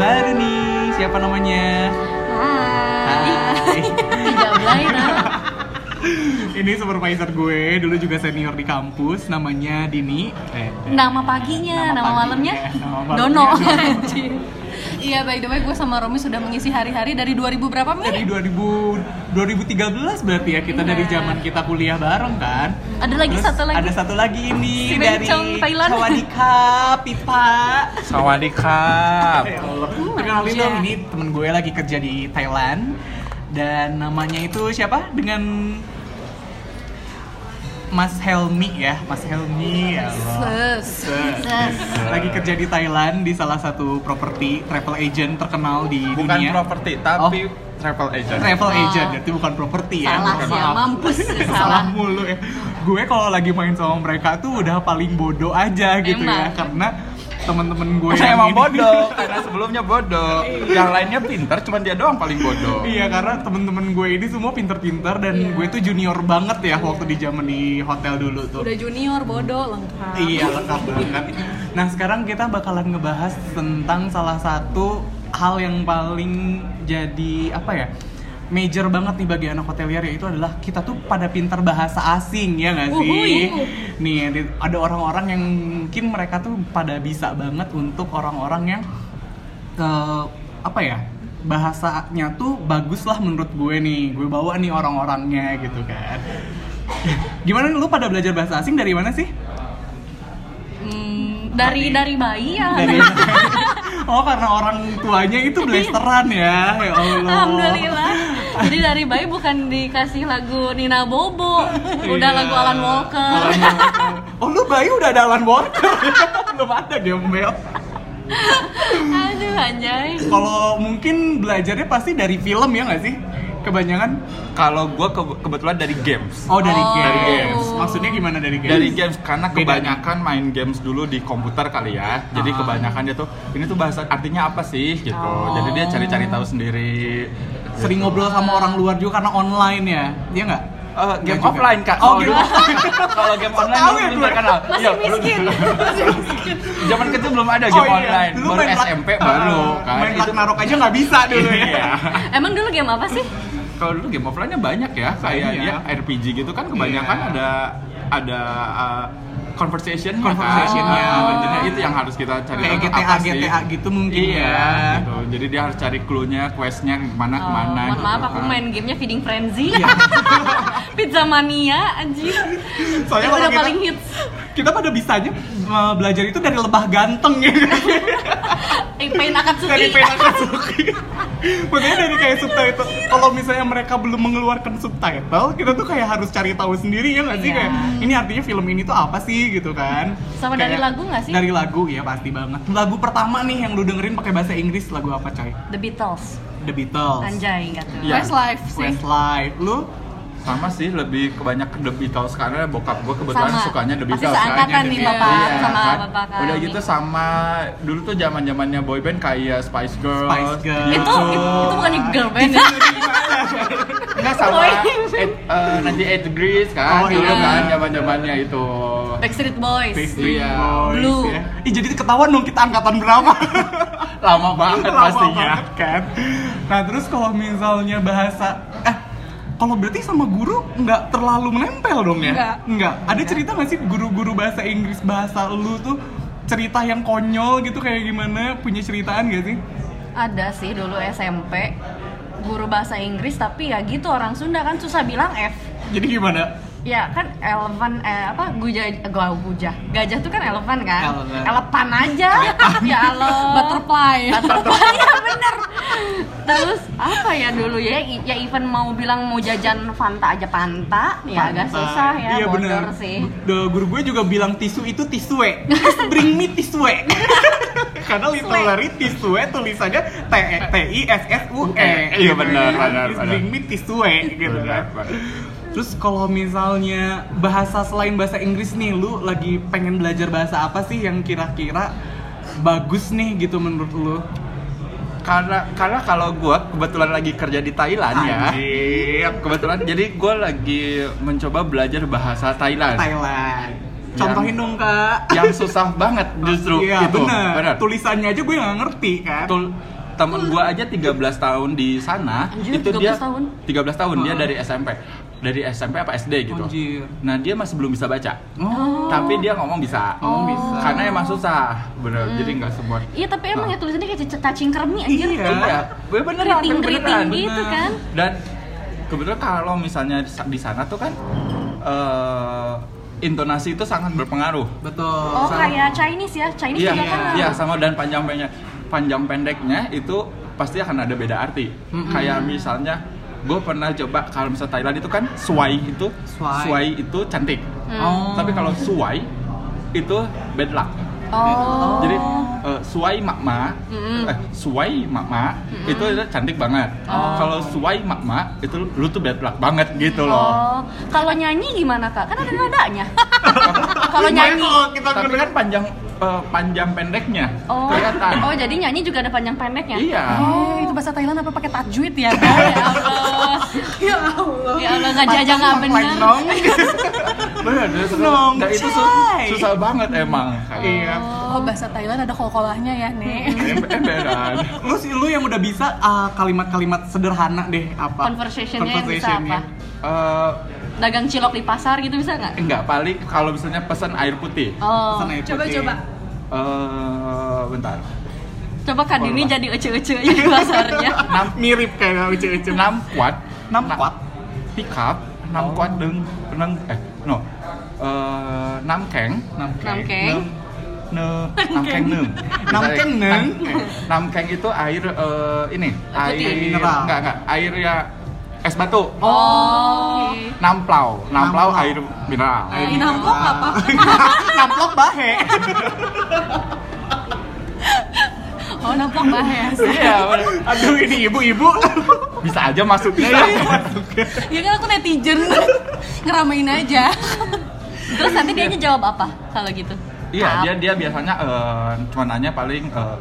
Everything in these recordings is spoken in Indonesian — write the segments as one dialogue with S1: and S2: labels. S1: siapa namanya? Hai.
S2: Tidak Blaira.
S1: Ini supervisor gue, dulu juga senior di kampus, namanya Dini. Eh, eh.
S2: Nama paginya,
S1: Nama
S2: nama,
S1: paginya,
S2: malamnya
S1: nama malamnya
S2: Dono.
S1: Dono.
S2: Anjing. Iya, by the way gue sama Romi sudah mengisi hari-hari dari 2000 berapa
S1: Dari
S2: menit?
S1: 2000, 2013 berarti ya kita dari zaman kita kuliah bareng kan.
S2: Ada lagi
S1: Terus
S2: satu lagi.
S1: Ada satu lagi ini
S2: Si
S1: dari
S2: bencong Thailand.
S1: Sawadika Pipa.
S3: Sawadikap.
S1: Ya Allah.
S2: Hmm,
S1: Kenalin
S2: aja.
S1: dong ini temen gue lagi kerja di Thailand dan namanya itu siapa? Dengan Mas Helmi ya, Mas Helmi ya Allah.
S2: Ses.
S1: Ses.
S2: Ses.
S1: lagi kerja di Thailand di salah satu properti travel agent terkenal di
S3: Bukan
S1: dunia.
S3: properti, tapi Oh. travel agent.
S1: travel
S2: Oh.
S1: agent, berarti bukan properti ya.
S2: Salah
S1: Bukan
S2: sih, ya,
S1: maaf.
S2: mampus
S1: salah
S2: salah.
S1: mulu ya. Gue kalau lagi main sama mereka tuh udah paling bodoh aja gitu ya,
S2: Emang.
S1: karena temen-temen gue
S3: Saya
S1: yang
S3: emang
S1: ini-
S3: bodoh, karena sebelumnya bodoh. Yang lainnya pintar, cuman dia doang paling bodoh.
S1: Iya karena temen-temen gue ini semua pinter-pinter dan gue tuh junior banget ya waktu di zaman di hotel dulu tuh.
S2: Udah junior bodoh lengkap.
S1: Iya lengkap banget. Nah sekarang kita bakalan ngebahas tentang salah satu hal yang paling jadi apa ya major banget nih bagi anak hotelier yaitu adalah kita tuh pada pintar bahasa asing ya nggak sih?
S2: Uhuy.
S1: Nih ya, di- ada orang-orang yang mungkin mereka tuh pada bisa banget untuk orang-orang yang eh, apa ya bahasanya tuh bagus lah menurut gue nih gue bawa nih orang-orangnya gitu kan. Gimana lu pada belajar bahasa asing dari mana sih?
S2: Hmm, dari dari bayi ya.
S1: dari oh karena orang tuanya itu blasteran ya ya allah
S2: Alhamdulillah. Jadi dari bayi bukan dikasih lagu Nina Bobo, udah
S1: Iya.
S2: lagu Alan Walker.
S1: Alan Walker. oh lu bayi udah ada Alan Walker belum ada gembel
S2: Aduh anjay.
S1: kalau mungkin belajarnya pasti dari film ya nggak sih kebanyakan
S3: Kalau gue kebetulan dari games.
S1: oh dari
S2: Oh.
S1: games.
S3: Dari games.
S1: maksudnya gimana dari games
S3: Dari games karena
S1: Beda.
S3: kebanyakan main games dulu di komputer kali ya. Jadi
S1: Ah.
S3: kebanyakan dia tuh ini tuh bahasa artinya apa sih gitu.
S1: Oh.
S3: Jadi dia cari-cari tahu sendiri.
S1: sering eh, ngobrol sama orang luar juga karena online ya iya nggak
S3: Eh,
S1: Nggak
S3: game
S1: juga.
S3: offline kak.
S1: Oh, game
S3: gitu. Kalau game
S1: So
S3: online
S1: tahu
S3: dulu
S1: ya
S3: belum
S1: gue.
S3: terkenal.
S2: Masih
S3: Iya, belum-
S1: gitu.
S2: miskin. Masih miskin.
S3: Zaman kecil belum ada
S1: Oh,
S3: game
S1: iya.
S3: online.
S1: Dulu
S3: Baru
S1: main lak-
S3: SMP baru
S1: Ah,
S3: kan.
S1: main
S3: Itu-
S1: Ragnarok aja nggak bisa dulu ya
S3: Iya.
S2: Emang dulu game apa sih?
S3: Kalau dulu game offline-nya banyak ya, kayak
S1: Iya.
S3: dia RPG gitu kan kebanyakan
S1: Iya.
S3: ada ada uh, conversation
S1: Conversation-nya.
S3: jadi itu yang harus kita cari
S1: Kayak
S3: tahu
S1: GTA,
S3: apa sih.
S1: GTA gitu mungkin
S3: iya,
S1: ya.
S3: gitu. jadi dia harus cari clue-nya, quest-nya kemana
S2: Oh,
S3: kemana
S2: mohon
S3: gitu
S2: maaf aku
S3: kan.
S2: main gamenya Feeding Frenzy.
S1: Iya.
S2: Pizza Mania anjir.
S1: Soalnya
S2: Yang
S1: kalau
S2: udah
S1: kita-
S2: paling hits.
S1: kita pada bisanya uh, belajar itu dari lebah ganteng ya
S2: Eh, Pain Akatsuki.
S1: dari Pena Katsuki maksudnya dari kayak subtitle kalau misalnya mereka belum mengeluarkan subtitle kita tuh kayak harus cari tahu sendiri ya nggak sih
S2: Iya.
S1: kayak ini artinya film ini tuh apa sih gitu kan
S2: Sama dari
S1: Kayak-
S2: lagu nggak sih?
S1: dari lagu ya pasti banget lagu pertama nih yang lu dengerin pakai bahasa Inggris lagu apa coy
S2: The Beatles.
S1: The Beatles
S2: Anjay enggak tuh.
S3: Iya.
S2: Westlife sih.
S1: Oh. Westlife lu
S3: sama sih lebih kebanyak ke The Beatles karena bokap gue kebetulan
S2: Sama.
S3: sukanya The
S2: Pasti
S3: Beatles
S2: seangkatan nih,
S3: Iya,
S2: bapak
S3: iya,
S2: sama
S3: kan?
S2: bapak kami.
S3: udah gitu sama dulu tuh zaman zamannya boyband kayak Spice Girls,
S1: Spice Girls.
S2: Itu itu, itu bukan girl band ya.
S3: Enggak sama
S2: Boy.
S3: eight, eh, nanti 8 degrees kan
S1: Oh,
S3: dulu
S1: iya.
S3: kan zaman zamannya itu
S2: Backstreet Boys.
S1: Backstreet
S3: Iya.
S1: Boys
S2: Blue.
S1: ya. Ih jadi ketahuan dong kita angkatan berapa
S3: lama banget
S1: Lama
S3: pastinya
S1: banget kan. Nah terus kalau misalnya bahasa eh kalau berarti sama guru nggak terlalu menempel dong ya?
S2: Nggak.
S1: Nggak. Ada cerita nggak sih guru-guru bahasa Inggris bahasa lu tuh cerita yang konyol gitu kayak gimana punya ceritaan gak sih?
S2: Ada sih dulu SMP guru bahasa Inggris tapi ya gitu orang Sunda kan susah bilang F.
S1: Jadi gimana?
S2: Ya kan elephant eh, apa guja gua gujah. Gajah tuh kan elephant kan?
S1: Elephant.
S2: Elephant aja. ya Allah.
S4: Butterfly.
S2: Butterfly ya bener. Terus apa ya dulu ya? i- Ya even mau bilang mau jajan Fanta aja Fanta, ya agak
S1: Pantai.
S2: susah ya.
S1: Iya
S2: bodor
S1: benar.
S2: sih.
S1: Duh, guru gue juga bilang tisu itu tisue. Please Bring me tisue. Karena literally tisue tulisannya T E T I S S U E.
S3: Iya, benar, benar,
S1: Please
S3: benar.
S1: Bring me tisue gitu kan. Terus kalau misalnya bahasa selain bahasa Inggris nih, lu lagi pengen belajar bahasa apa sih yang kira-kira bagus nih gitu menurut lu?
S3: karena karena kalau gue kebetulan lagi kerja di
S1: Iya.
S3: Thailand ya
S1: Anjir.
S3: kebetulan jadi gue lagi mencoba belajar bahasa Thailand
S1: Thailand. Contohin dong kak.
S3: yang susah banget justru
S1: Iya
S3: itu
S1: benar.
S3: Benar.
S1: Tulisannya aja gue nggak ngerti kan.
S3: Tul- temen gua aja 13 tahun di sana
S2: Anjir,
S3: itu dia
S2: 13 tahun?
S3: 13 tahun dia
S1: Heeh.
S3: dari SMP dari SMP apa SD gitu
S1: Anjir.
S3: nah dia masih belum bisa baca
S1: Oh,
S3: tapi dia ngomong bisa
S1: oh bisa.
S3: karena emang susah bener
S2: Hmm.
S3: jadi nggak semua
S2: Iya tapi emang
S3: Nah.
S2: ya tulisannya kayak c- cacing kermi anjir.
S1: Iya.
S3: Iya, gue beneran, hampir
S2: Keriting-keriting
S3: beneran.
S2: gitu
S3: Bener.
S2: kan.
S3: Dan kebetulan kalau misalnya di sa- di sana tuh kan eh, intonasi itu sangat berpengaruh.
S1: betul.
S2: Oh
S1: Sama-
S2: kayak Chinese ya, Chinese
S3: Iya,
S2: juga kan.
S3: iya sama dan panjang pendeknya, panjang pendeknya itu pasti akan ada beda arti.
S1: Mm-mm.
S3: Kayak misalnya gue pernah coba kalau misalnya Thailand itu kan suai itu
S1: Suai.
S3: itu cantik.
S2: Hmm.
S1: Oh.
S3: Tapi kalau suai itu bad luck.
S2: Oh.
S3: Jadi eh, suai makma,
S2: Mm-mm.
S3: eh, suai makma
S2: Mm-mm.
S3: itu cantik banget.
S2: Oh.
S3: Kalau suai makma itu lu tuh bad luck banget gitu loh.
S2: Oh, kalau nyanyi gimana kak? Kan ada nadanya. kalau
S1: Lumayan
S2: nyanyi.
S1: kalau kita
S3: Tapi
S1: dengerin.
S3: kan panjang eh, panjang pendeknya
S2: Oh.
S3: kelihatan.
S2: Oh, jadi nyanyi juga ada panjang pendeknya.
S3: Iya.
S2: Oh, itu bahasa Thailand apa pakai tajwid ya? Kak? ya Allah.
S1: Ya Allah.
S2: Ya Allah nggak jajang nggak
S1: Pantas
S2: benar.
S1: nong.
S3: Bener, dan itu-
S1: Senong,
S3: dan itu su-
S1: Cai.
S3: susah banget emang.
S1: Iya.
S4: Oh, bahasa Thailand ada kol-kolahnya ya, Nek.
S3: Em- kan. Emberan.
S1: Lu sih lu yang udah bisa ah, kalimat-kalimat sederhana deh apa?
S2: Conversation-nya yang bisa
S1: Conversation-nya.
S2: apa?
S3: Eh,
S2: Hmm. Dagang cilok di pasar gitu bisa nggak?
S3: enggak paling kalau misalnya pesan air putih.
S2: Oh,
S1: Pesan air
S4: Coba,
S1: putih.
S4: coba.
S3: Eh, bentar.
S2: coba Kak Dini jadi ece-ece aja di pasarnya.
S1: Nam, mirip kayak uce-uce.
S3: Enam kuat.
S1: Nam kuat.
S3: pick up năm
S1: Oh.
S3: quán đứng nâng eh no uh, năm cánh
S1: Nam
S2: Nam
S1: keng.
S2: keng.
S3: nâng nơ năm cánh nâng
S1: Nam keng neng.
S3: năm cánh itu air eh, ini air
S2: Putih.
S1: Mineral.
S3: enggak enggak air ya es batu
S2: Oh.
S3: namplau namplau
S1: Namplau.
S3: air mineral
S1: Air
S4: Ini namplok apa?
S1: Namplok bahe.
S4: Oh, namplok bahas.
S3: iya bener.
S1: Aduh ini ibu-ibu.
S3: bisa aja masuk bisa
S4: Ya kan aku netizen. Ngeramein aja.
S2: Terus nanti dia jawab apa kalau gitu?
S3: iya
S2: Maaf.
S3: dia dia biasanya eh, cuma nanya paling eh,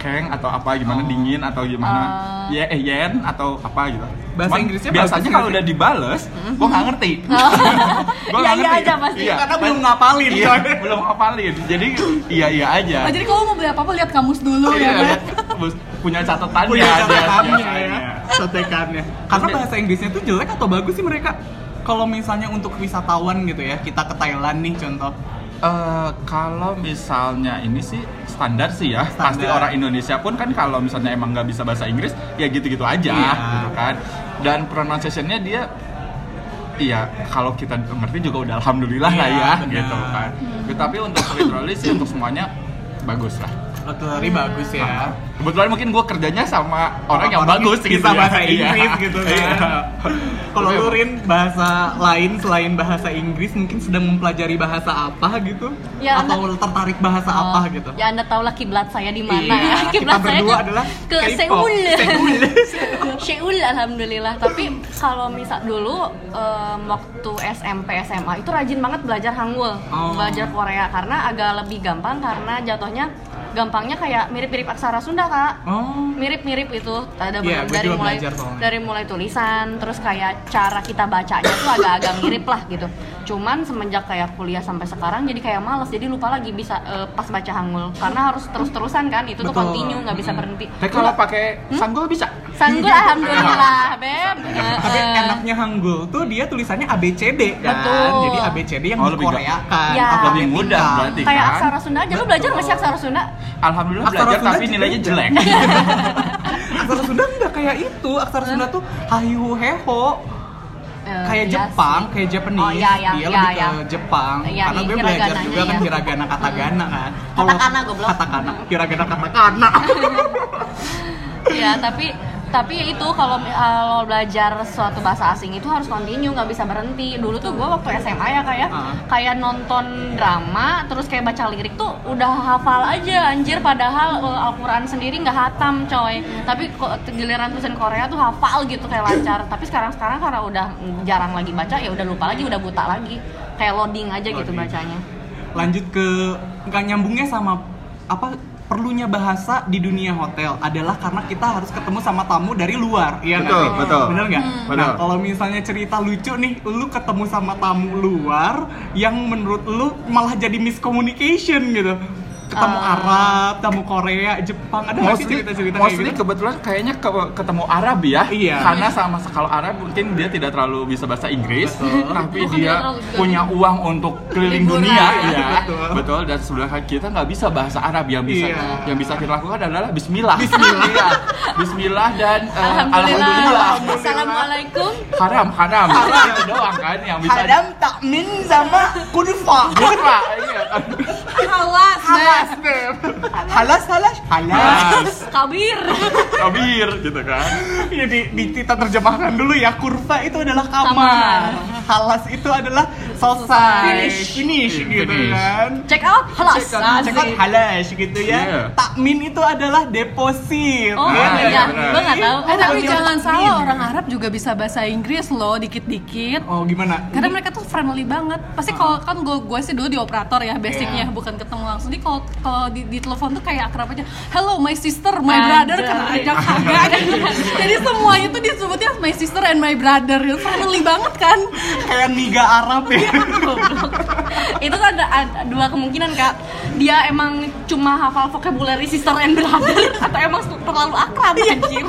S3: keng atau apa
S1: Oh.
S3: gimana dingin atau gimana
S2: Oh.
S3: ye eh, yen atau apa gitu
S1: Bahasa
S3: Cuman
S1: Inggrisnya bagus
S3: biasanya kalau
S1: nggak
S3: udah dibales gua nggak ngerti
S2: Oh.
S3: Gua
S2: Ya,
S3: nggak
S2: iya
S3: ngerti.
S2: aja pasti.
S3: Iya.
S1: Karena belum ngapalin.
S3: iya belum apalin jadi iya iya aja
S4: Oh, jadi kamu mau beli apa-apa lihat kamus dulu
S3: Iya,
S4: ya, Mbak?
S3: bus- punya catatannya
S1: punya
S3: dia
S1: catatannya
S3: biasanya.
S1: ya sotekannya karena
S3: Terus dia-
S1: bahasa Inggrisnya tuh jelek atau bagus sih mereka kalau misalnya untuk wisatawan gitu ya kita ke Thailand nih contoh
S3: Eh, kalau misalnya ini sih standar sih ya pasti
S1: Standar.
S3: orang Indonesia pun kan kalau misalnya emang nggak bisa bahasa Inggris ya gitu-gitu aja
S1: Iya.
S3: gitu kan dan pronunciation-nya dia iya kalau kita ngerti juga udah alhamdulillah lah
S1: Iya,
S3: ya
S1: benar.
S3: gitu kan tapi untuk literally sih untuk semuanya bagus lah
S1: literally
S2: Hmm.
S1: bagus ya
S3: kebetulan mungkin gue kerjanya sama orang, yang bagus
S1: bisa
S3: gitu ya.
S1: bahasa
S3: Iya.
S1: Inggris gitu kan
S3: Iya.
S1: kalau
S3: Tapi-
S1: lu Rin bahasa lain selain bahasa Inggris mungkin sedang mempelajari bahasa apa gitu
S2: Ya,
S1: atau tertarik bahasa
S2: Oh,
S1: apa gitu
S2: Ya Anda tahulah kiblat saya di mana
S1: Iya,
S2: ya. Kiblat
S1: kita
S2: saya
S1: berdua
S2: ke,
S1: adalah
S2: ke
S1: K-pop.
S2: Seoul.
S1: Seoul.
S2: Seoul alhamdulillah. Tapi kalau misal dulu em, waktu SMP SMA itu rajin banget belajar Hangul,
S1: Oh.
S2: belajar Korea karena agak lebih gampang karena jatuhnya gampangnya kayak mirip-mirip aksara Sunda, Kak
S1: oh
S2: mirip-mirip itu ada
S1: Iya,
S2: bener-
S1: gua
S2: dari
S1: juga
S2: mulai
S1: belajar soalnya.
S2: dari mulai tulisan terus kayak cara kita bacanya tuh agak-agak mirip lah gitu cuman semenjak kayak kuliah sampai sekarang jadi kayak males jadi lupa lagi bisa eh, pas baca hangul karena harus terus-terusan kan itu tuh
S1: Betul.
S2: continue nggak bisa
S1: Mm-mm. Iya.
S2: berhenti
S3: tapi kalau pakai sanggul bisa
S2: sanggul alhamdulillah beb
S1: tapi
S2: Eh, eh.
S1: enaknya Hangul tuh dia tulisannya ABCD kan
S2: Betul.
S1: jadi ABCD yang
S3: Oh,
S1: di
S3: lebih
S1: Korea kan
S2: Iya.
S3: lebih mudah berarti
S2: kayak
S3: kan
S2: aksara Sunda aja lu belajar nggak sih aksara Sunda
S3: alhamdulillah
S1: Aksara
S3: belajar
S1: Sunda
S3: tapi
S1: juga
S3: nilainya
S1: belajar.
S3: jelek
S1: aksara Sunda nggak kayak itu aksara Sunda tuh hayu heho
S2: Eh,
S1: kayak
S2: iya
S1: Jepang
S2: sih.
S1: kayak Japanese
S2: Oh, iya, iya,
S1: dia
S2: iya,
S1: lebih
S2: iya.
S1: ke Jepang
S2: Iya,
S1: karena
S2: iya,
S1: gue belajar
S2: hiragana-nya,
S1: juga kan
S2: iya.
S1: hiragana katagana kan
S2: Katakana, goblok.
S1: katakana hiragana katakana
S2: Iya, tapi tapi ya itu kalau kalau belajar suatu bahasa asing itu harus continue nggak bisa berhenti dulu tuh gue waktu SMA ya kayak
S1: Ah.
S2: kayak nonton drama terus kayak baca lirik tuh udah hafal aja anjir padahal eh, Al-Quran sendiri nggak hatam coy tapi kok giliran tulisan Korea tuh hafal gitu kayak lancar tapi sekarang sekarang karena udah jarang lagi baca ya udah lupa lagi udah buta lagi kayak loading aja gitu
S1: Loading.
S2: bacanya
S1: lanjut ke nggak nyambungnya sama apa perlunya bahasa di dunia hotel adalah karena kita harus ketemu sama tamu dari luar ya
S3: Betul, betul.
S1: bener nggak
S3: Hmm.
S1: nah
S3: Betul.
S1: kalau misalnya cerita lucu nih lu ketemu sama tamu luar yang menurut lu malah jadi miscommunication gitu ketemu Arab, ketemu Korea, Jepang, ada nggak sih
S3: mostly,
S1: cerita-cerita kayak
S3: mostly
S1: gitu?
S3: kebetulan kayaknya ke- ketemu Arab ya
S1: Iya.
S3: karena sama kalau Arab mungkin dia tidak terlalu bisa bahasa Inggris
S1: Betul.
S3: tapi
S4: Bukan
S3: dia
S4: tidak terlalu bisa.
S3: punya uang untuk keliling
S4: Liburan.
S3: dunia iya
S1: Betul.
S3: betul dan sebenarnya kita nggak bisa bahasa Arab yang bisa
S1: Iya.
S3: yang bisa kita lakukan adalah Bismillah Bismillah Bismillah dan eh,
S4: Alhamdulillah.
S3: Alhamdulillah
S4: Assalamualaikum.
S3: haram haram haram itu doang kan yang bisa
S1: Hadam takmin sama kudufa.
S3: Buka, iya.
S4: Halas. Mas.
S1: Halas, halas, halas.
S4: Kabir.
S3: kabir gitu kan
S1: Ya, di, di- kita terjemahkan dulu ya kurva itu adalah kamar,
S4: Kamar.
S1: halas itu adalah selesai,
S4: Finish.
S1: finish, gitu
S3: Finish.
S1: kan.
S4: Check out. Halas.
S1: Check out, check out kan, halas gitu ya.
S3: Iya.
S1: Takmin itu adalah deposit. Nah,
S4: Oh
S3: Ah, iya,
S4: iya,
S3: benar.
S4: gue nggak tahu.
S1: Eh,
S4: Eh tapi
S1: iya,
S4: jangan
S1: takmin.
S4: salah orang Arab juga bisa bahasa Inggris loh, dikit-dikit.
S1: Oh gimana?
S4: Karena mereka tuh friendly banget. Pasti kalau kan gue gue sih dulu di operator ya basicnya, bukan ketemu langsung. Jadi kalau kalau di, di telepon tuh kayak akrab aja. Hello, my sister, my brother,
S2: Anjay.
S4: kena aja kagak. Jadi semuanya tuh disebutnya my sister and my brother. Ya, Friendly banget kan?
S1: kayak niga Arab ya.
S2: Goblok. itu kan ada, ada dua kemungkinan kak dia emang cuma hafal vocabulary sister and brother atau emang terlalu akrab
S4: Iya.
S2: anjir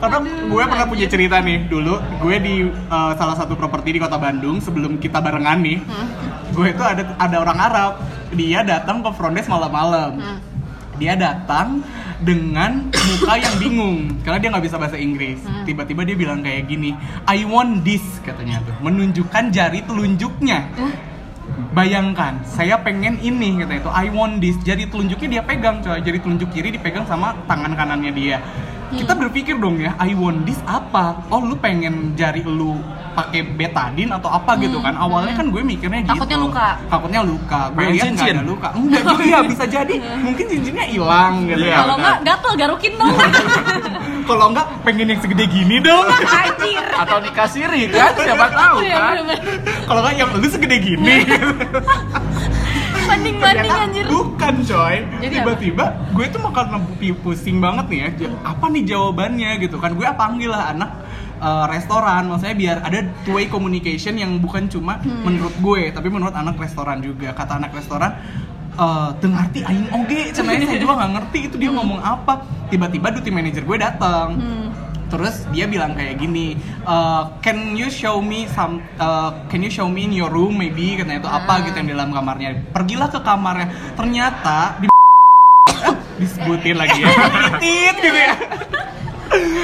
S1: Karena gue pernah punya cerita nih dulu, gue di uh, salah satu properti di kota Bandung sebelum kita barengan nih, gue itu ada ada orang Arab, dia datang ke front desk malam-malam, dia datang dengan muka yang bingung karena dia nggak bisa bahasa Inggris. Tiba-tiba dia bilang kayak gini, I want this katanya tuh, menunjukkan jari telunjuknya. Bayangkan, saya pengen ini katanya itu I want this. Jadi telunjuknya dia pegang coy, jadi telunjuk kiri dipegang sama tangan kanannya dia.
S2: Hmm.
S1: Kita berpikir dong ya, I want this apa? Oh, lu pengen jari lu pakai betadin atau apa gitu kan? Awalnya kan gue mikirnya gitu.
S2: Hmm. Takutnya luka.
S1: Takutnya luka. Gue
S3: Pengen
S1: lihat nggak
S3: cincin.
S1: ada luka. Enggak gitu ya, bisa jadi mungkin cincinnya hilang gitu.
S3: Iya.
S2: Hmm. kalau nggak gatel garukin dong
S1: Kalau enggak pengen yang segede gini dong.
S2: anjir
S3: atau nikah siri kan siapa tahu
S4: Iya,
S3: kan
S4: bener-bener.
S1: Kalau enggak yang lu segede gini.
S4: Banding banding
S1: Ternyata
S4: anjir.
S1: Bukan coy.
S4: Jadi
S1: Tiba-tiba gue tuh makan pusing banget nih ya. Dia- Apa nih jawabannya gitu kan? Gue panggil lah anak eh, restoran, maksudnya biar ada two way communication yang bukan cuma
S4: Hmm.
S1: menurut gue, tapi menurut anak restoran juga. Kata anak restoran, eh teu ngerti aing oge, cenanya saya juga nggak ngerti itu dia ngomong apa. Tiba-tiba duty manager gue datang. Terus dia bilang kayak gini, "Eh, can you show me some, eh, can you show me in your room maybe katanya itu apa gitu yang di dalam kamarnya. Pergilah ke kamarnya. Ternyata di disebutin lagi ya. Titit gitu ya.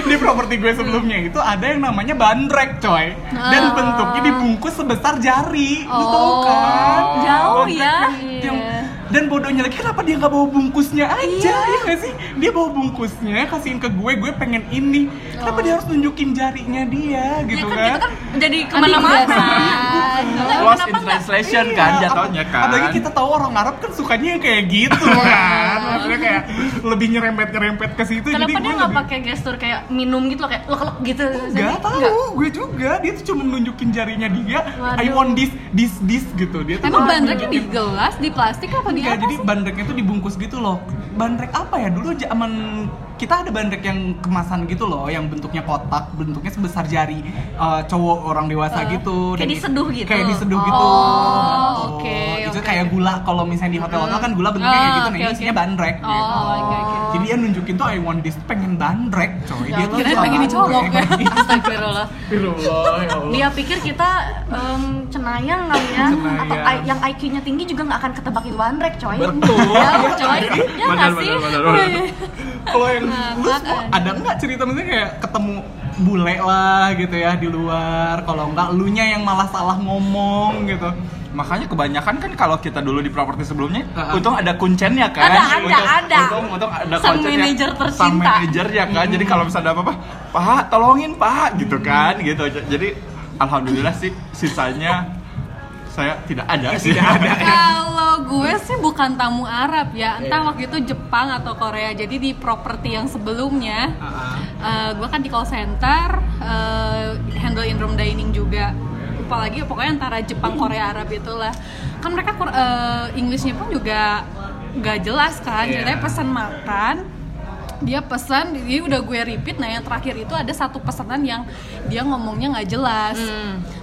S1: Di properti gue sebelumnya itu ada yang namanya bandrek coy Dan bentuknya dibungkus sebesar jari Lu tau
S4: Oh,
S1: kan?
S4: jauh
S1: Bandrek
S4: ya.
S1: yang- yang-
S2: Iya.
S1: Dan bodohnya lagi kenapa dia nggak bawa bungkusnya aja ya nggak sih? Dia bawa bungkusnya kasihin ke gue, gue pengen ini Kenapa dia harus nunjukin jarinya dia
S2: ya
S1: gitu
S2: Oh. kan
S1: kan?
S2: kita kan jadi kemana-mana Nggak, kenapa
S3: lost in
S2: nggak
S3: translation
S1: Iya,
S3: kan
S1: ap-
S3: jatuhnya kan
S1: Apalagi kita tahu orang Arab kan sukanya yang kayak gitu
S2: Iya.
S1: kan. Maksudnya kayak lebih nyerempet-nyerempet ke situ jadi gue
S2: kenapa dia nggak
S1: lebih-
S2: pakai gestur kayak minum gitu loh kayak lek-lek gitu
S1: Gak tahu, gue juga. Dia tuh cuma nunjukin jarinya dia. I
S2: Waduh.
S1: want this, this, this gitu. Dia tuh
S4: Emang
S1: cuma
S4: bandreknya di
S1: nunjukin.
S4: gelas, di plastik apa di
S1: Enggak,
S4: Iya, apa
S1: jadi
S4: sih?
S1: bandreknya tuh dibungkus gitu loh. Bandrek apa ya? Dulu zaman kita ada bandrek yang kemasan gitu loh, yang bentuknya kotak, bentuknya sebesar jari eh, cowok orang dewasa
S4: Eh,
S1: gitu.
S2: kayak
S1: Dan-
S2: diseduh gitu.
S1: Kayak diseduh gitu.
S4: Oh, oke,
S1: Itu
S4: oke.
S1: kayak gula kalau misalnya di hotel-hotel kan gula bentuknya kayak
S4: Ah,
S1: gitu, nah
S4: oke,
S1: ini
S4: oke.
S1: isinya bandrek.
S4: Oh,
S1: gitu.
S4: oke oke.
S1: Jadi dia nunjukin tuh I want this pengen bandrek, coy. Dia tuh
S4: Kirain Ya pengen dicolok ya.
S1: gitu.
S4: Astagfirullah.
S1: Astagfirullah, ya Allah.
S2: dia pikir kita em, cenayang kali ya
S1: Cenayang.
S2: atau I- yang IQ-nya tinggi juga nggak akan ketebak itu bandrek coy
S3: Betul.
S2: Jauh, coy ya nggak
S3: Benar,
S2: sih
S3: benar, benar, benar.
S1: Kalau yang
S4: Nah,
S1: lu semua
S4: makan.
S1: ada nggak cerita misalnya kayak ketemu bule lah gitu ya di luar kalau nggak lunya yang malah salah ngomong gitu
S3: Makanya kebanyakan kan kalau kita dulu di properti sebelumnya,
S1: Uh-uh.
S3: untung ada kuncennya
S2: Ada,
S3: kan.
S2: ada,
S3: untung,
S2: ada.
S3: Untung, untung ada
S2: Sang
S3: kuncennya.
S2: manajer tercinta.
S3: Sang manajernya kan. Jadi kalau misalnya ada apa-apa, Pak, tolongin Pak, gitu kan, gitu. Jadi alhamdulillah sih sisanya saya tidak ada sih. Tidak ada.
S4: Kalau gue sih bukan tamu Arab ya, entah waktu itu Jepang atau Korea. Jadi di properti yang sebelumnya, eh, gue kan di call center, eh, handle in room dining juga. Apalagi pokoknya antara Jepang, Korea, Arab itulah. Kan mereka Kor- eh, Inggrisnya pun juga gak jelas kan.
S1: Iya.
S4: Ceritanya pesan makan, dia pesan, dia udah gue repeat. Nah yang terakhir itu ada satu pesanan yang dia ngomongnya nggak jelas.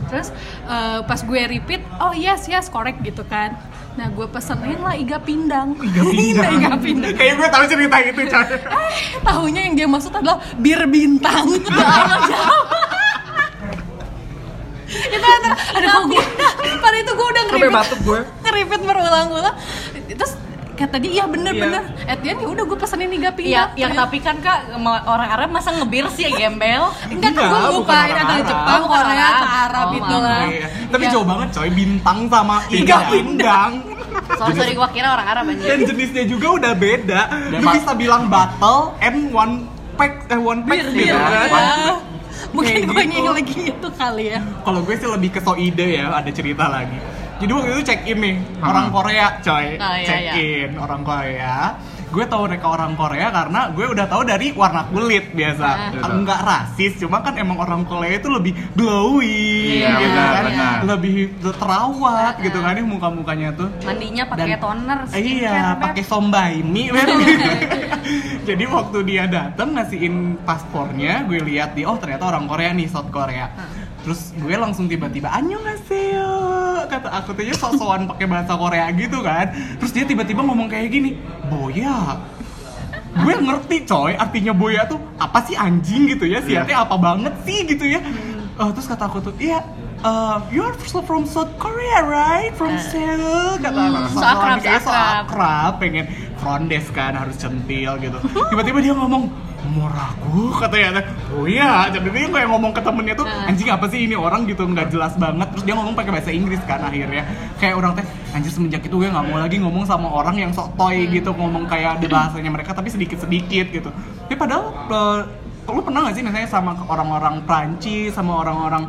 S4: Terus eh, pas gue repeat, oh yes yes correct gitu kan. Nah, gue pesenin lah iga pindang. Iga
S3: pindang.
S4: iga pindang.
S3: Kayak gue tahu cerita itu, Chan.
S4: Tahunya yang dia maksud adalah bir bintang. Orang Jawa. itu antara, aduh gue pada itu gue udah
S5: Sampai
S4: ngeribet
S5: batuk gue.
S4: ngeribet berulang-ulang terus kata dia iya bener
S5: Iya.
S4: bener at the end ya udah gue pesenin
S2: Iya,
S4: iga pindang
S2: yang tapi kan kak ma- orang Arab masa ngebir sih ya gembel.
S4: enggak kan gue
S5: Enggak, bukan orang
S4: lupain antara
S5: Arab.
S4: Jepang
S2: Bukan
S4: Korea
S2: orang
S4: ke
S2: Arab.
S4: Arab
S2: Oh,
S4: itu
S2: maaf.
S4: lah
S1: Iya. Tapi
S4: Iya.
S1: jauh banget coy bintang sama
S3: Tiga
S1: iga
S3: pindang.
S2: Sorry, sorry gua kira orang Arab aja.
S5: Dan jenisnya juga udah beda.
S1: Lu bisa bilang battle and one pack eh one pack
S4: Iya,
S1: gitu kan.
S4: iya. mungkin
S1: Kayak
S4: gue
S1: gitu.
S4: yang lagi itu kali ya
S1: Kalau gue sih lebih ke soide ya, ada cerita lagi. Jadi waktu itu check in nih, orang Korea coy,
S2: Oh, iya,
S1: check
S2: iya.
S1: in orang Korea. Gue tahu mereka orang Korea karena gue udah tahu dari warna kulit
S2: Ah.
S1: biasa. Enggak rasis, cuma kan emang orang Korea itu lebih glowy
S3: Iya,
S1: gitu
S2: benar,
S1: kan.
S3: benar.
S1: Lebih terawat gitu
S2: Ah.
S1: kan ya muka-mukanya tuh.
S2: Mandinya pakai
S1: Dan-
S2: toner,
S1: Iya,
S2: skincare, Beb. Oh.
S1: pakai sombai mie. Beb. Jadi waktu dia datang ngasihin paspornya, gue lihat di oh ternyata orang Korea nih, South Korea. Terus gue langsung tiba-tiba annyeonghaseyo kata aku tuh sok-sokan pakai bahasa Korea gitu kan. Terus dia tiba-tiba ngomong kayak gini, "Boya." Gue ngerti coy, artinya boya tuh apa sih anjing gitu ya, siatnya apa banget sih gitu ya. Eh, terus kata aku tuh, "Iya, eh, you are from South Korea, right? From Seoul." Kata aku,
S2: Eh. Hmm. so
S1: "Soal
S2: akrab, so
S1: kayaknya so
S2: akrab."
S1: akrab, pengen front desk kan harus centil gitu. Tiba-tiba dia ngomong moraku katanya oh iya jadi dia kayak ngomong ke temennya tuh anjing apa sih ini orang gitu nggak jelas banget terus dia ngomong pakai bahasa Inggris kan akhirnya kayak orang teh anjir semenjak itu gue nggak mau lagi ngomong sama orang yang sok toy gitu ngomong kayak ada bahasanya mereka tapi sedikit sedikit gitu tapi padahal eh, lu pernah nggak sih misalnya sama orang-orang Prancis sama orang-orang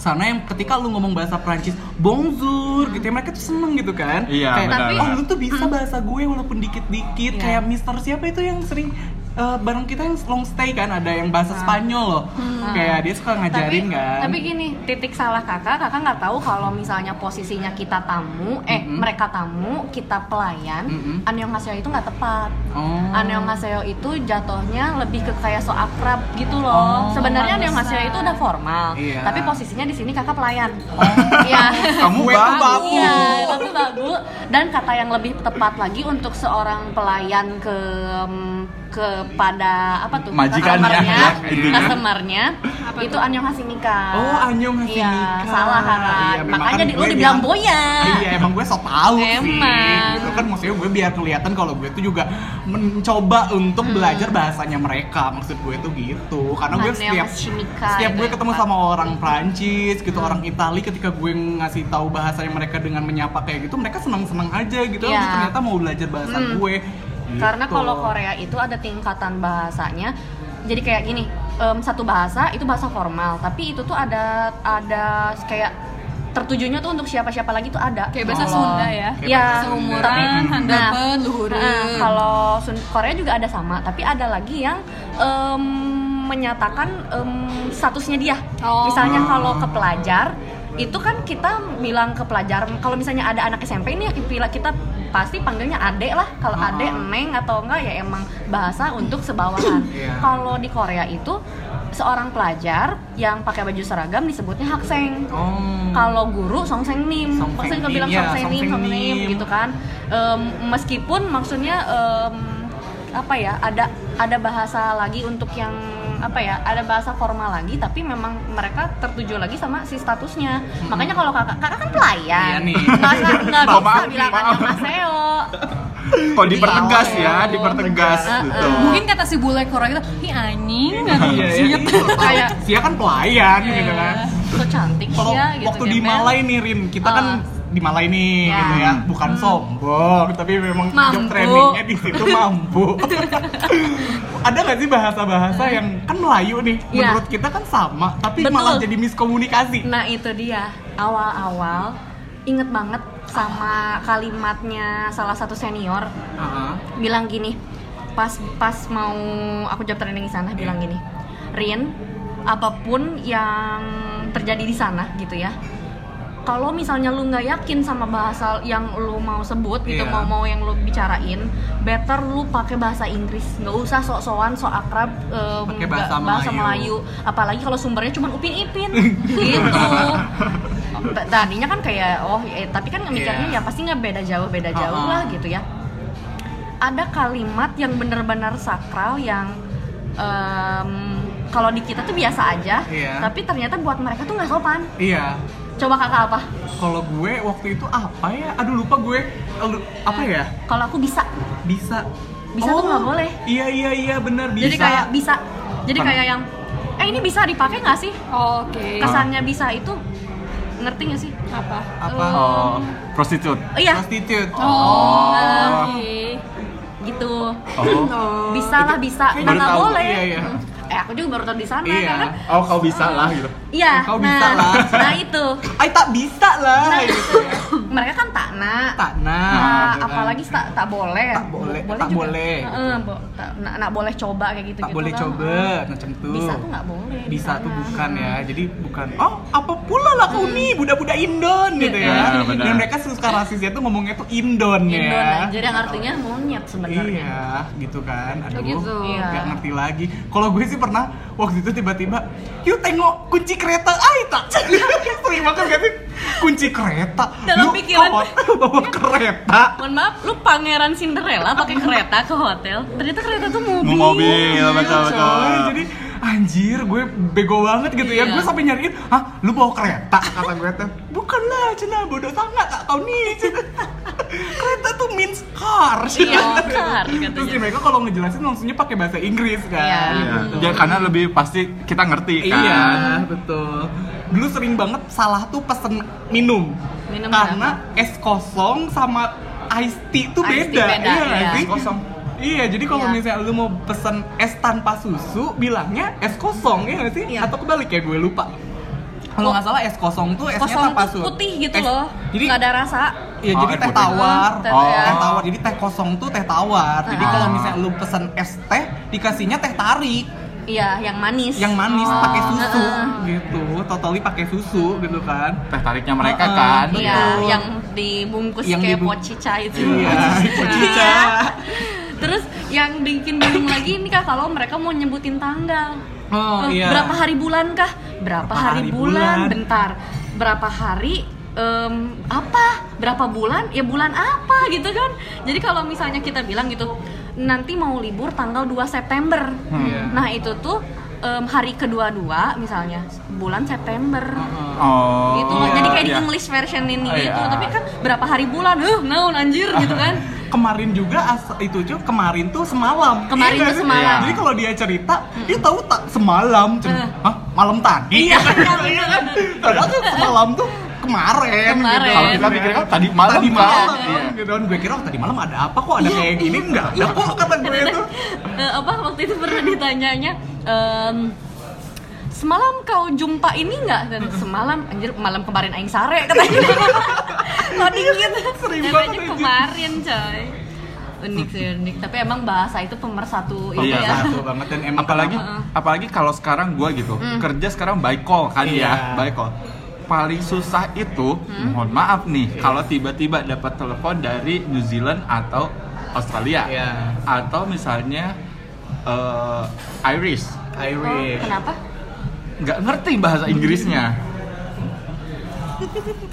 S1: sana yang ketika lu ngomong bahasa Prancis bonjour gitu ya mereka tuh seneng gitu kan
S3: Iya,
S1: kayak,
S3: benar,
S1: oh
S3: benar.
S1: lu tuh bisa bahasa gue walaupun dikit-dikit
S2: Iya.
S1: kayak Mister siapa itu yang sering eh, bareng kita yang long stay kan ada yang bahasa Spanyol loh kayak dia suka ngajarin
S2: Nah. tapi,
S1: kan
S2: Tapi gini, titik salah kakak, kakak nggak tahu kalau misalnya posisinya kita tamu, eh
S1: Mm-mm.
S2: mereka tamu, kita pelayan,
S1: Mm-mm.
S2: annyeonghaseyo itu nggak tepat.
S1: oh.
S2: Annyeonghaseyo itu jatuhnya lebih ke kayak so akrab gitu
S1: Oh,
S2: loh. Sebenarnya
S4: pantesan.
S2: annyeonghaseyo itu udah formal,
S1: Iya. Oh.
S2: tapi posisinya di sini kakak pelayan. Iya.
S3: Kamu
S1: Gue tuh
S3: babu.
S1: babu.
S2: Iya, tapi bagus. Dan kata yang lebih tepat lagi untuk seorang pelayan ke kepada apa tuh
S3: Majikannya,
S2: customernya,
S3: ya, gitu ya.
S2: customernya itu annyeonghaseyo nikah
S1: Iya. Oh, annyeonghaseyo
S2: Iya,
S1: nikah.
S2: salah kan
S1: Iya, memang
S2: makanya
S1: kan
S2: di, lu
S1: gue
S2: dibilang
S1: bilang-
S2: boya
S1: iya emang gue sok tahu sih
S2: Emang.
S1: gitu kan maksudnya gue biar kelihatan kalau gue tuh juga mencoba untuk
S2: Hmm.
S1: belajar bahasanya mereka maksud gue tuh gitu karena gue setiap
S2: Annyeonghaseyo
S1: setiap
S2: itu
S1: gue
S2: yang
S1: ketemu
S2: tepat.
S1: sama orang Prancis
S2: Hmm.
S1: gitu orang Itali ketika gue ngasih tahu bahasanya mereka dengan menyapa kayak gitu mereka senang senang aja gitu
S2: Iya.
S1: "Oh, ternyata mau belajar bahasa
S2: Hmm.
S1: gue
S2: Karena
S1: Gitu.
S2: kalau Korea itu ada tingkatan bahasanya. Jadi kayak gini, em, satu bahasa itu bahasa formal, tapi itu tuh ada ada kayak tertujunya tuh untuk siapa-siapa lagi tuh ada.
S4: Kayak bahasa
S2: Kalau-
S4: Sunda ya?
S1: Kayak
S2: Iya.
S1: bahasa Sunda.
S4: seumuran
S2: Tapi
S1: Nah,
S4: handapan luhureun
S2: nah, kalau Sun- Korea juga ada sama, tapi ada lagi yang em, menyatakan em, statusnya dia.
S4: Oh.
S2: Misalnya kalau ke pelajar itu kan kita bilang ke pelajar kalau misalnya ada anak SMP ini ya kita kita pasti panggilnya adek lah kalau
S1: Ah.
S2: adek neng atau enggak ya emang bahasa untuk sebawahan
S1: Iya.
S2: kalau di Korea itu seorang pelajar yang pakai baju seragam disebutnya hakseng
S1: Oh.
S2: kalau guru songseng nim
S1: Songseng
S2: pasti
S1: nim,
S2: bilang
S1: ya,
S2: songseng nim
S1: songseng
S2: songseng nim
S1: nim.
S2: gitu kan Em, meskipun maksudnya em, apa ya ada ada bahasa lagi untuk yang apa ya ada bahasa formal lagi tapi memang mereka tertuju lagi sama si statusnya makanya kalau kakak kakak kan pelayan
S1: Iya nih.
S2: nggak usah- nggak bisa
S3: Maaf, maaf,
S2: bilang
S3: maaf.
S2: annyeonghaseyo
S3: Kok dipertegas
S2: Iya,
S3: ya,
S2: oh,
S3: dipertegas
S2: Bener.
S3: gitu.
S4: mungkin kata si bule Korea itu hi anjing kan
S1: iya iya
S4: Siap.
S1: itu.
S2: Kayak, Iya.
S1: dia kan pelayan gitu kan
S2: so cantik
S1: kalau
S2: sih ya gitu
S1: waktu di
S2: gembel. Ah.
S1: Malai nih Rin, kita kan di Malai nih
S2: Ya.
S1: gitu ya, bukan sombong, tapi memang job
S4: Mampu.
S1: trainingnya di situ mampu. Ada nggak sih bahasa-bahasa yang kan Melayu nih,
S2: Ya.
S1: menurut kita kan sama, tapi
S2: Betul.
S1: malah jadi miskomunikasi.
S2: Nah itu dia awal-awal inget banget sama kalimatnya salah satu senior Uh-huh.
S1: Heeh.
S2: bilang gini pas pas mau aku job training di sana
S1: Hmm.
S2: bilang gini Rin apapun yang terjadi di sana gitu ya kalau misalnya lu nggak yakin sama bahasa yang lu mau sebut gitu
S1: Iya.
S2: mau mau yang lu bicarain better lu pakai bahasa Inggris nggak usah sok-sokan sok akrab em,
S1: Pakai
S2: nggak-
S1: bahasa Melayu.
S2: apalagi kalau sumbernya cuma upin ipin gitu T- tadinya kan kayak oh eh, tapi kan mikirnya
S1: Iya.
S2: ya pasti nggak beda jauh beda
S1: Ha-ha.
S2: jauh lah gitu ya ada kalimat yang benar-benar sakral yang em, kalau di kita tuh biasa aja,
S1: Iya.
S2: tapi ternyata buat mereka tuh nggak sopan.
S1: Iya,
S2: Coba kakak apa?
S1: kalau gue waktu itu apa ya? Aduh lupa gue. Aduh, apa ya?
S2: Kalau aku bisa,
S1: Bisa.
S2: Bisa tuh nggak boleh.
S1: Iya iya iya benar bisa.
S2: jadi kayak bisa, jadi
S1: Pernah. Iya.
S2: kayak yang, eh ini bisa dipakai nggak sih?
S4: Oke.
S2: Kesannya bisa itu ngerti nggak sih?
S4: Apa?
S1: Apa?
S4: Eh,
S3: Oh, prostitut.
S2: Oh, iya,
S1: prostitute.
S4: Oh, oke.
S2: gitu.
S3: Oh.
S2: Bisa lah bisa,
S1: Kayaknya
S2: nah
S3: baru
S2: nggak
S3: tahu.
S2: boleh.
S1: Iya, iya.
S2: Eh aku juga baru tahu di sana
S1: Iya.
S2: karena
S3: Oh, kau bisa lah gitu.
S2: Iya,
S1: Kau
S2: nah,
S1: bisa lah.
S2: nah itu
S1: Ay tak bisa lah.
S2: Nah,
S1: gitu ya.
S2: mereka kan tak nak
S1: Tak nak,
S2: Nah,
S1: gitu kan.
S2: apalagi tak tak boleh
S1: Tak boleh, tak
S2: juga.
S1: boleh.
S2: Heeh, bo- tak- nak nak boleh coba kayak gitu
S1: tak boleh coba macam tuh.
S2: bisa tuh nggak boleh Nah. di
S1: Bisa tuh
S2: sana.
S1: bukan ya. Jadi bukan oh apa pula lah kau
S2: Hmm.
S1: nih budak-budak Indon gitu ya.
S3: Iya, benar.
S1: Dan mereka suka rasisnya tuh ngomongnya tuh Indon ya.
S2: Indon aja yang artinya monyet sebenarnya
S1: Iya, gitu kan. Aduh,
S4: Oh, gitu.
S2: Iya.
S1: nggak ngerti lagi. Kalau gue sih pernah waktu itu tiba-tiba, yuk tengok kunci kereta, ay tak. Sering banget gak sih? Kunci kereta.
S2: Dalam
S1: Lu
S2: pikiran.
S1: ke hotel bawa kereta.
S2: Mohon maaf, lu pangeran Cinderella pakai kereta ke hotel. Ternyata kereta tuh mobil.
S3: Mau mobil, betul
S1: Iya, Coy,
S3: betul.
S1: jadi anjir gue bego banget gitu ya.
S4: Iya.
S1: Gue sampai nyariin, "Hah, lu bawa kereta?" kata gue tuh. "Bukan lah, cina bodoh sangat tak tahu nih." Cina." kereta tuh means car.
S2: Iya,
S1: cina.
S2: car,
S1: Terus
S2: katanya.
S1: mereka kalau ngejelasin langsungnya pakai bahasa Inggris kan.
S2: Iya.
S3: Iya. Ya, karena lebih pasti kita ngerti kan.
S1: Iya, betul. Dulu sering banget salah tuh pesen minum.
S2: Minum
S1: Karena es kosong sama ice tea tuh
S2: Iced
S1: beda.
S2: tea
S1: Iya,
S2: beda, iya.
S1: jadi- Iya, jadi kalau
S2: Iya.
S1: misalnya lu mau pesen es tanpa susu, bilangnya es kosong ya nggak sih?
S2: Iya. Oh.
S1: Atau kebalik ya gue lupa. Kalau nggak salah es kosong tuh esnya
S2: Kosong
S1: tanpa
S2: tuh
S1: susu.
S2: putih gitu
S1: Es-
S2: loh.
S1: Jadi
S2: nggak ada rasa.
S1: Iya,
S3: Oh,
S1: jadi
S3: air
S1: teh
S3: putih.
S1: tawar.
S2: Hmm, teh
S1: Oh.
S2: ya.
S1: Teh tawar. Jadi teh kosong tuh teh tawar. Jadi
S2: Ah.
S1: kalau misalnya lu pesen es teh, dikasihnya teh tarik
S2: Iya, yang manis.
S1: yang manis pakai susu
S2: Oh. Heeh.
S1: gitu. Totally pakai susu gitu kan.
S3: Teh tariknya mereka
S1: Heeh.
S3: kan.
S2: Iya,
S1: Betul.
S2: yang dibungkus
S1: Yang
S2: kayak
S1: dibung-
S2: pocica itu.
S1: Iya,
S2: Iya. Terus yang bikin bingung lagi ini kah kalau mereka mau nyebutin tanggal.
S1: Oh,
S2: Eh,
S1: iya.
S2: Berapa hari bulan kah? Berapa,
S1: Berapa
S2: hari,
S1: hari
S2: bulan?
S1: bulan?
S2: Bentar. Berapa hari? em, apa? Berapa bulan? Ya bulan apa gitu kan? Jadi kalau misalnya kita bilang gitu, nanti mau libur tanggal 2 September.
S1: Iya.
S2: Nah, itu tuh em, hari kedua-dua misalnya bulan September
S3: Oh.
S2: gitu loh. jadi kayak di
S3: iya.
S2: English version ini
S3: Oh,
S2: gitu
S3: iya.
S2: tapi kan berapa hari bulan huh naon anjir gitu kan
S1: Kemarin juga as- itu cuy, kemarin tuh semalam. Iya
S2: Kemarin tuh
S1: nggak sih?
S2: semalam.
S1: Jadi kalau dia cerita, dia tahu tak semalam. Cuy.
S2: Heeh.
S1: Hah, malam tadi.
S2: Iya,
S1: kan?
S2: iya,
S1: kan? Padahal tuh semalam tuh kemarin.
S2: Kemarin.
S1: gitu.
S3: Kalau kita pikir kan tadi malam
S1: tadi
S3: Kak.
S1: malam,
S3: Iya.
S1: gitu kan. Gue kira oh, tadi malam ada apa kok ada
S2: Iya,
S1: kayak gini enggak ada kok kata gue tuh.
S2: Eh, apa waktu itu pernah ditanyanya em, semalam kau jumpa ini nggak dan semalam anjir malam kemarin aing sare katanya lo dingin
S1: sering banget,
S2: Dan aja
S1: anjir.
S2: kemarin coy unik sih unik tapi emang bahasa itu pemersatu ini
S3: Iya.
S2: ya
S1: Satu banget dan emang
S3: apalagi
S1: kenapa-
S3: apalagi kalau sekarang gua gitu kerja sekarang by call kan
S1: Iya.
S3: ya by call paling susah itu mohon maaf nih kalau tiba-tiba dapat telepon dari New Zealand atau Australia
S1: Iya.
S3: atau misalnya eh, Irish
S1: Irish.
S2: kenapa
S3: nggak ngerti bahasa Inggrisnya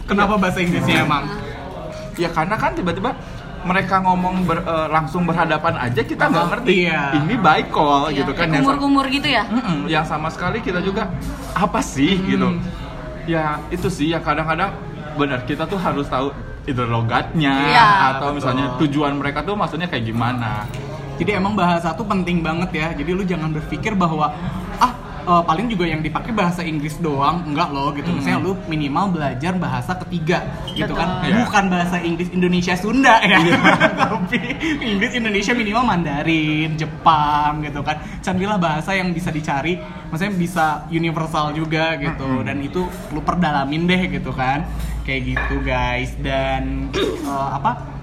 S1: Kenapa bahasa Inggrisnya emang?
S3: ya karena kan tiba-tiba mereka ngomong ber- eh, langsung berhadapan aja kita nggak
S1: Oh,
S3: ngerti
S1: iya.
S3: ini by call
S2: Iya,
S3: gitu kan yang sa-
S2: kumur-kumur gitu ya
S3: Mm-mm, yang sama sekali kita juga apa sih gitu ya itu sih ya kadang-kadang benar kita tuh harus tahu itu logatnya
S2: Iya.
S3: atau misalnya
S1: Betul.
S3: tujuan mereka tuh maksudnya kayak gimana
S1: Jadi emang bahasa tuh penting banget ya. Jadi lu jangan berpikir bahwa ah eh, paling juga yang dipakai bahasa Inggris doang, enggak loh gitu. Misalnya lu minimal belajar bahasa ketiga gitu kan.
S3: Betul.
S1: Bukan bahasa Inggris Indonesia Sunda ya. Tapi Inggris Indonesia minimal Mandarin, Jepang gitu kan. Carilah bahasa yang bisa dicari, maksudnya bisa universal juga gitu dan itu lu perdalamin deh gitu kan. Kayak gitu guys dan eh, apa?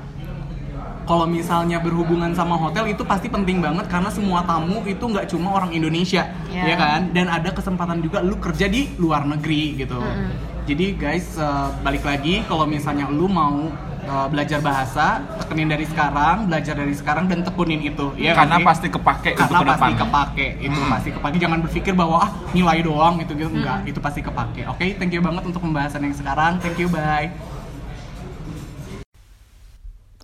S1: kalau misalnya berhubungan sama hotel itu pasti penting banget karena semua tamu itu nggak cuma orang Indonesia
S2: Iya.
S1: ya kan dan ada kesempatan juga lu kerja di luar negeri gitu Jadi guys eh, balik lagi kalau misalnya lu mau eh, belajar bahasa, tekenin dari sekarang, belajar dari sekarang dan tekunin itu. Iya nggak
S3: karena
S1: sih?
S3: pasti kepake untuk
S1: karena
S3: ke depan.
S1: pasti kepake itu
S3: Hmm.
S1: pasti kepake jangan berpikir bahwa ah nilai doang gitu gitu enggak itu pasti kepake oke thank you banget untuk pembahasan yang sekarang thank you bye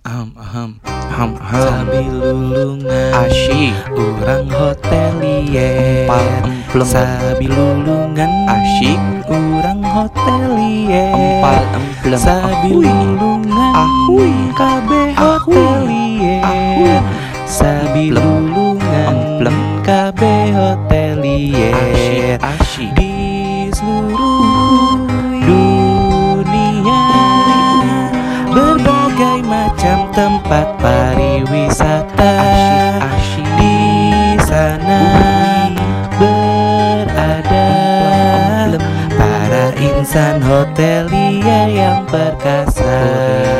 S6: Aham, aham, aham, aham. Sabi lulungan Asyik Urang hotelier Empal emplem Sabi lulungan Asyik Urang hotelier Empal emplem Sabi lulungan Ahui Kabe hotelier Sabi lulungan Emplem Kabe hotelier Asyik Asyik Di seluruh dunia Berbagai macam tempat pariwisata di sana berada para insan hotelia yang perkasa.